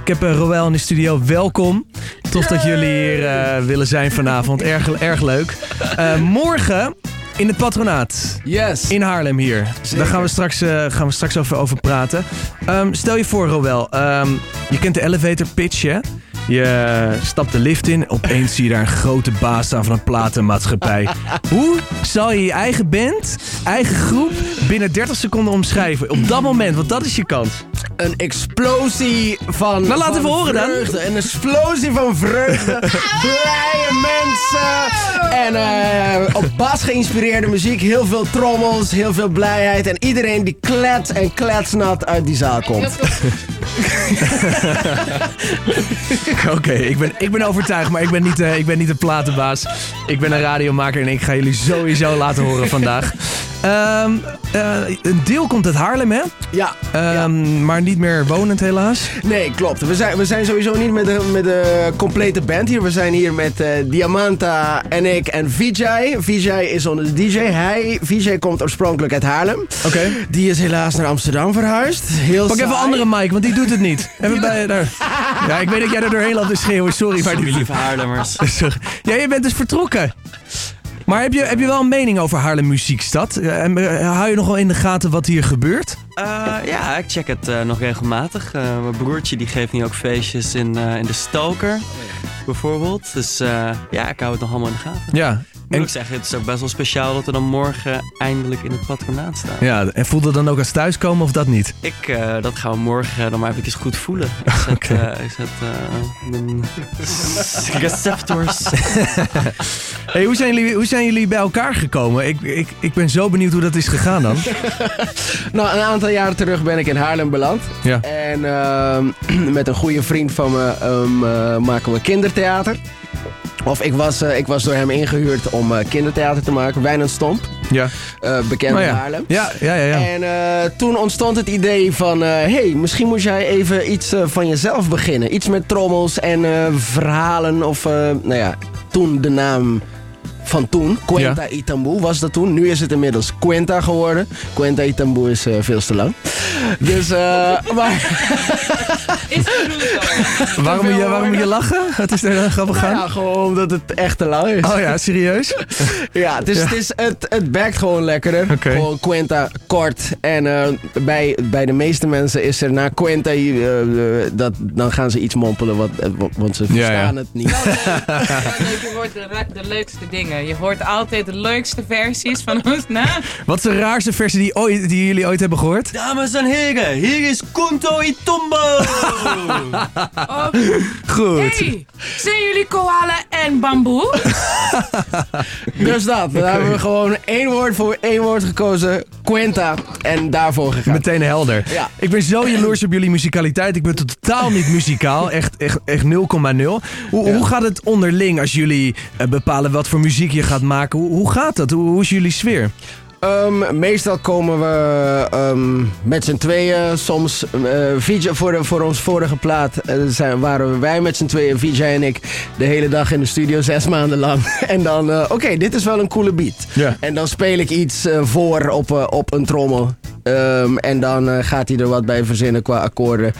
Ik heb eh, Roel in de studio. Welkom. Tof dat jullie hier eh, willen zijn vanavond. Erg, erg leuk. Eh, morgen in het patronaat. Yes. In Haarlem hier. Daar gaan we straks, eh, gaan we straks over, over praten. Ehm, stel je voor, Roel. ehm, je kent de elevator pitch, hè? Je stapt de lift in. Opeens zie je daar een grote baas staan van een platenmaatschappij. Hoe zal je je eigen band, eigen groep, binnen 30 seconden omschrijven? Op dat moment, want dat is je kans. Een explosie van. Nou, laat van even horen dan. vreugde. Een explosie van vreugde. Blije mensen. En eh, op bas geïnspireerde muziek. Heel veel trommels, heel veel blijheid. En iedereen die klets en kletsnat uit die zaal komt. Oké, ik, ben, ik ben overtuigd, maar ik ben, niet, eh, ik ben niet de platenbaas. Ik ben een radiomaker en ik ga jullie sowieso laten horen vandaag. Ehm, eh, een deel komt uit Haarlem, hè? Ja. Ehm, Maar niet meer wonend, helaas. Nee, klopt. We zijn, we zijn sowieso niet met de, met de complete band hier. We zijn hier met eh, Diamanta en ik en Vijay. Vijay is onze DJ. Hij, Vijay komt oorspronkelijk uit Haarlem. Oké. Die is helaas naar Amsterdam verhuisd. Heel Pak even een saai. andere mic, want die doet het niet. Even bij daar. Ja, ik weet dat jij er doorheen loopt te schreeuwen. Sorry, maar die... lieve Haarlemmers. Sorry. Ja, je bent dus vertrokken. Maar heb je, heb je wel een mening over Haarlem Muziekstad? Eh, En eh, hou je nog wel in de gaten wat hier gebeurt? ja, ik check het eh, nog regelmatig. Eh, mijn broertje die geeft nu ook feestjes in, eh, in de Stalker, bijvoorbeeld. Dus eh, ja, ik hou het nog allemaal in de gaten. Ja. Moet En- ik zeggen, het is ook best wel speciaal dat we dan morgen eindelijk in het patronaat staan. Ja, en voelt dat dan ook als thuiskomen of dat niet? Ik, eh, dat gaan we morgen eh, dan maar eventjes goed voelen. Ik zet, Oké. eh, ik zet eh, mijn receptors. Hey, hoe, zijn jullie, hoe zijn jullie bij elkaar gekomen? Ik, ik, ik ben zo benieuwd hoe dat is gegaan dan. Nou, een aantal jaren terug ben ik in Haarlem beland. Ja. En ehm, met een goede vriend van me ehm, eh, maken we kindertheater. Of ik was, eh, ik was door hem ingehuurd om eh, kindertheater te maken. Wijnand Stomp, Ja. eh, bekend Nou in ja. Haarlem. Ja, ja, ja. ja. En eh, toen ontstond het idee van, hé, hey, misschien moet jij even iets eh, van jezelf beginnen. Iets met trommels en eh, verhalen of, eh, nou ja, toen de naam van toen, Quenta Itambu was dat toen. Nu is het inmiddels Quenta geworden. Quenta Itambu is eh, veel te lang. Dus, eh, maar Waarom, moet je, waarom moet je lachen? Wat is er dan grappig Eh, nou gaan? ja, gewoon omdat het echt te lang is. Oh ja, serieus? Ja, het, is, Ja. Het, is, het, het backt gewoon lekkerder. Oké. Gewoon Quenta kort. En eh, bij, bij de meeste mensen is er na Quenta, eh, eh, dat, dan gaan ze iets mompelen, wat, eh, wa- want ze Ja, ja. verstaan het niet. Ja, leuk, je hoort de, ra- de leukste dingen. Je hoort altijd de leukste versies van ons na. Wat is de raarste versie die, ooit, die jullie ooit hebben gehoord? Dames en heren, hier is Kunto Itombo. Oh, Goed. hey, zijn jullie koala en bamboe? Dus dat, daar hebben we gewoon één woord voor één woord gekozen. Quenta. En daarvoor gegaan. Meteen helder. Ja. Ik ben zo jaloers op jullie muzikaliteit. Ik ben totaal niet muzikaal. Echt 0,0. Echt, echt 0,0. hoe, hoe gaat het onderling als jullie eh, bepalen wat voor muziek je gaat maken? Hoe, hoe gaat dat? Hoe, hoe is jullie sfeer? Ehm, meestal komen we ehm, met z'n tweeën. Soms eh Vijay- voor, de, voor ons vorige plaat eh, zijn, waren wij met z'n tweeën, Vijay en ik, de hele dag in de studio, zes maanden lang. en dan, eh, oké, dit is wel een coole beat. Ja. En dan speel ik iets eh, voor op, eh, op een trommel. Ehm, en dan eh, gaat hij er wat bij verzinnen qua akkoorden.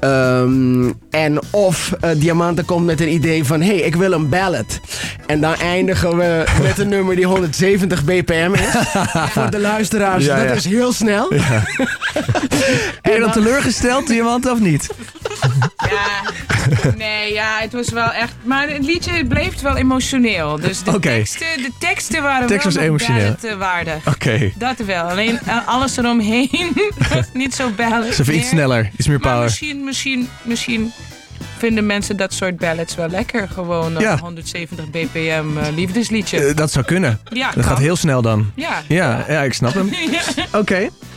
Ehm, en of eh Diamante komt met een idee van: hé, hey, ik wil een ballad. En dan eindigen we met een nummer die 170 bpm is. Voor de luisteraars, Ja, dat ja. is heel snel. Ben je dan Eh, dan- teleurgesteld, iemand, of niet? Ja, nee, ja, het was wel echt... Maar het liedje bleef wel emotioneel. Dus de, Oké. teksten, de teksten waren Oh. Tekst was wel nog emotioneel. ballad, eh, waardig. Oké. Dat wel. Alleen eh, alles eromheen was niet zo ballad. Dus even iets meer. sneller, iets meer Maar power. misschien, misschien, misschien vinden mensen dat soort ballads wel lekker. Gewoon eh, Ja. 170 bpm eh, liefdesliedje. Eh, dat zou kunnen. ja, Dat kan. gaat heel snel dan. Ja. Ja, ja ik snap hem. Oké.